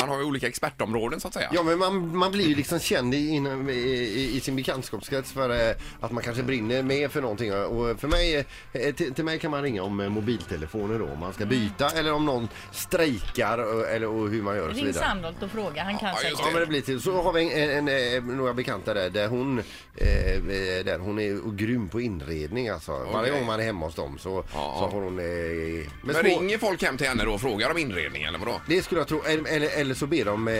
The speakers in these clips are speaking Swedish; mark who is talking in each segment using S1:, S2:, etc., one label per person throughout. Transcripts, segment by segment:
S1: Man har ju olika expertområden så att säga.
S2: Ja, men man, man blir ju liksom känd i, inom- i, i, i sin bekantskapskrets för eh, att man kanske brinner med för någonting. Och för mig, eh, till, till mig kan man ringa om eh, mobiltelefoner då, om man ska byta eller om någon strejkar och, eller, och hur man gör och så
S3: Ring
S2: vidare.
S3: Sandholt och fråga, han kan
S1: Ja, just
S3: säkert.
S2: Ja, men det blir till. Så har vi en, en, en, eh, några bekanta där, där hon, eh, eh, där hon är grym på inredning alltså. Varje gång man är hemma hos dem så, så har hon... Eh, med
S1: Men
S2: små-
S1: ringer folk hem till henne då och frågar om inredning eller vadå?
S2: Det skulle jag tro. Eller, eller, eller, så, blir de, eh,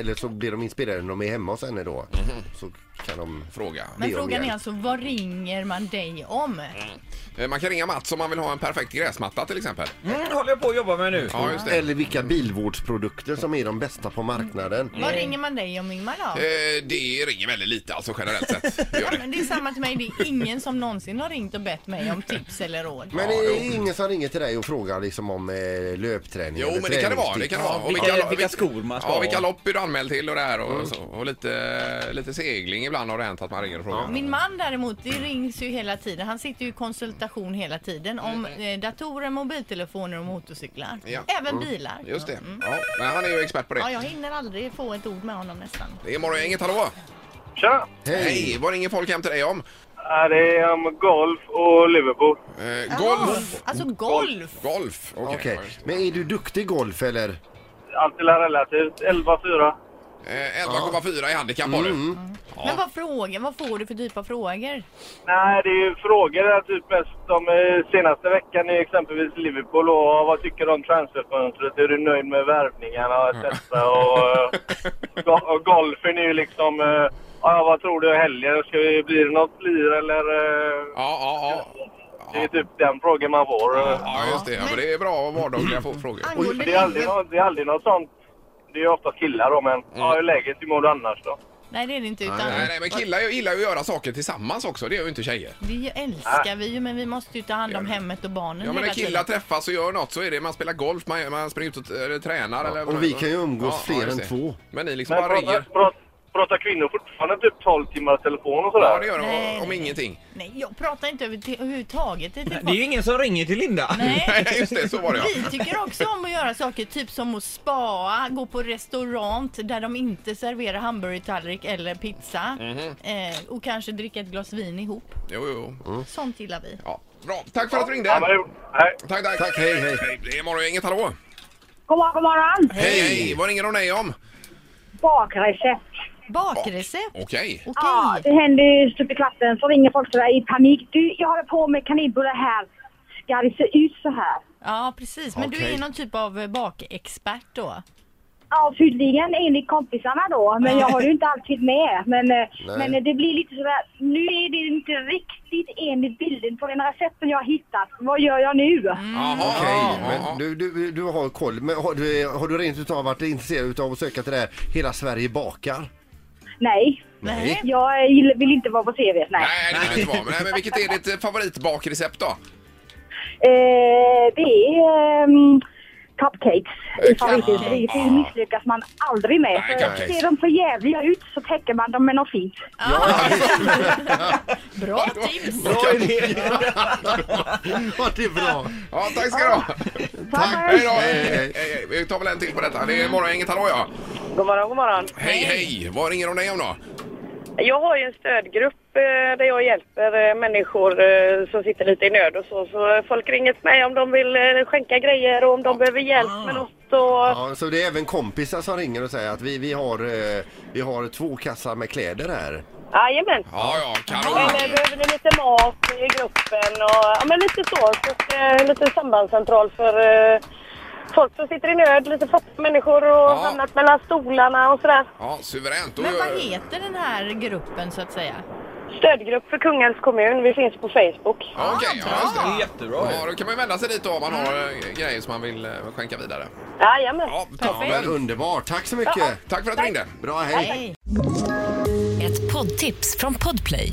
S2: eller så blir de inspirerade när de är hemma hos henne då.
S1: Mhm.
S2: Så kan de...
S1: Fråga.
S2: det
S3: Men
S2: är
S3: frågan
S2: om
S3: är
S2: hjälp.
S3: alltså, vad ringer man dig om?
S1: Eh, Man kan ringa Mats om man vill ha en perfekt gräsmatta till exempel.
S4: Mm, håller jag på att jobba med nu.
S1: Ja, just det.
S2: Eller vilka bilvårdsprodukter som är de bästa på marknaden.
S1: Mm.
S3: Vad ringer man dig om Ingmar då?
S1: Eh, Det ringer väldigt lite alltså generellt sett. Det gör
S3: Ja,
S1: det.
S3: men det är samma till mig, det är ingen som någonsin har ringt och bett mig om tips eller råd.
S2: Men
S1: Ja,
S2: det är
S1: jo.
S2: ingen som ringer till dig och frågar liksom om eh, löpträning
S1: Jo,
S2: eller
S1: men det kan det vara. Det kan det vara.
S2: träningstips?
S1: Och
S4: vilka- vilka skor man ska
S1: Ja,
S4: ha.
S1: vilka lopp är du anmäld till och det här och, så. och lite, lite segling ibland har det hänt att man ringer och frågar.
S3: Min man däremot, det rings ju hela tiden. Han sitter ju i konsultation hela tiden om eh, datorer, mobiltelefoner och motorcyklar.
S1: Ja.
S3: Även bilar.
S1: Just det. Ja, men han är ju expert på
S3: Mm. Ja,
S1: det.
S3: jag hinner aldrig få ett ord med honom nästan.
S1: Det är Morgongänget, hallå!
S5: Tja!
S1: Hej! Vad ringer folk hem till dig om?
S5: Ja, Det är om golf och Liverpool.
S1: Eh, Golf!
S3: Ja, Alltså golf!
S1: Golf! Okej.
S2: Okej,
S1: Ja, just det.
S2: men är du duktig i golf eller?
S5: Allt är relativt. 11-4.
S1: Eh, 11,4 i handikapp har du.
S2: Mm.
S3: Men vad frågar, vad får du för typ av frågor?
S5: Nej, det är ju frågor där typ mest om eh, senaste veckan är exempelvis Liverpool och eh, vad tycker du om transferfönstret? Är du nöjd med värvningarna
S1: Mm.
S5: etc. Och, eh, go- och golfen är ju liksom, eh, ja vad tror du i helgen? Ska vi, blir det något lir eller? eh,
S1: Ja, ja, ja.
S5: Det är typ den frågan man får.
S1: Ja, just det. Ja, men det är bra vardagliga få- frågor.
S3: Angående
S5: Det är aldrig
S3: Liverpool?
S5: något, det är aldrig något sånt. Det är ju ofta killar då
S1: Mm.
S5: men, ja hur är läget? Hur mår du annars då?
S3: Nej, det är det inte. Utan
S1: Nej, Eh, nej, men killar ju- gillar ju att göra saker tillsammans också. Det gör ju inte tjejer.
S2: Mm.
S3: Det ju älskar vi ju, men vi måste ju ta hand om hemmet och barnen
S1: Ah. Ja, men när
S3: hela
S1: killar
S3: tiden.
S1: träffas och gör något så är det man spelar golf, man, man springer ut och t- eller tränar. eller
S2: och vi kan ju umgås fler
S1: just
S2: än
S1: det.
S2: två.
S1: Men ni liksom
S5: Men
S1: bara
S5: pratar,
S1: ringer.
S5: pratar, pratar kvinnor fortfarande typ 12 timmar telefon och
S1: Ja,
S5: sådär?
S1: det gör de.
S3: Nej,
S1: Om
S3: nej.
S1: ingenting.
S3: Nej, jag pratar inte över- till- överhuvudtaget
S4: Det
S3: i
S4: är ju
S3: telefon.
S4: ingen som ringer till Linda.
S3: Nej.
S1: Nej, just det. Så var det, ja.
S3: Vi tycker också om att göra saker typ som att spaa, gå på restaurant där de inte serverar hamburgertallrik eller pizza
S1: Mhm.
S3: eh, och kanske dricka ett glas vin ihop.
S1: Jo, jo, jo.
S2: Mm.
S3: Sånt gillar vi.
S1: Ja, bra. Tack för att du ringde.
S5: Ja, men det- nej.
S1: Tack, tack.
S2: Tack, hej, hej.
S1: Det är Morgongänget, hallå.
S6: God morgon, god morgon.
S1: Hej, hej. Vad ringer de dig om?
S6: Bakrecept.
S3: Bakrecept?
S1: Okej.
S2: Mm.
S3: Okej.
S6: Ja, det händer ju stup i klassen. Så ringer folk sådär i panik. Du, jag håller på med kanelbullar här. Ska det se ut så här?
S3: Ja, precis. Men du
S2: Okej.
S3: är någon typ av eh, bakexpert då?
S6: Ja, tydligen enligt kompisarna då. Men jag håller ju inte alltid med. Men, eh, men eh, det blir lite sådär. Nu är det inte riktigt enligt bilden på den recepten jag har hittat. Vad gör jag nu?
S1: Jaha,
S2: Okej,
S1: ja, ja.
S2: men du, du, du har koll. Men har du, har du rent utav varit intresserad av att söka till det här Hela Sverige bakar?
S6: Nej.
S3: Nej.
S6: Jag eh, gill- vill inte vara på TV. Nej.
S1: Nej, det vill det inte vara. Men, nej, men vilket är ditt eh, favoritbakrecept då?
S6: Eh, det är ehm, cupcakes i favoritutbudet. Det misslyckas man aldrig med.
S1: Nej,
S6: För
S1: cupcakes.
S6: ser de för jävliga ut så täcker man dem med något fint.
S3: Bra tips!
S1: Bra idé.
S2: Ja, det är bra.
S1: Ja, tack ska du ha.
S6: Tack!
S1: Hej då.
S2: Hej,
S1: Hej, hej. Vi tar väl en till på detta. Det är Morgongänget, hallå ja.
S7: God morgon, god morgon.
S1: Hej, hej. Vad ringer de dig om då?
S7: Jag har ju en stödgrupp eh, där jag hjälper eh, människor eh, som sitter lite i nöd och så. Så eh, folk ringer till mig om de vill eh, skänka grejer och om de behöver hjälp
S1: Ah.
S7: med något. Och...
S2: Ja, så det är även kompisar som ringer och säger att vi, vi, har, eh, vi har två kassar med kläder här.
S1: Ah.
S7: Jajamän.
S1: Ja, ja,
S7: Eller
S1: kanon.
S7: behöver ni lite mat i gruppen och ja, men lite så. så att, eh, lite sambandscentral för eh, folk som sitter i nöd, lite fattiga människor och
S1: Ja.
S7: hamnat mellan stolarna och sådär.
S1: Ja, suveränt. Då
S3: Men
S1: gör-
S3: vad heter den här gruppen så att säga?
S7: Stödgrupp för Kungälvs kommun. Vi finns på Facebook.
S1: Ja, Okej, ja, just
S4: Det är
S1: det.
S4: jättebra.
S1: Ja, då kan man ju vända sig dit då om man har eh, grejer som man vill eh, skänka vidare.
S7: Jajamän.
S1: Ja,
S2: Men
S1: toppen.
S2: underbart, tack så mycket!
S1: Tack för att du ringde.
S2: Bra, hej!
S8: Ett poddtips från Podplay.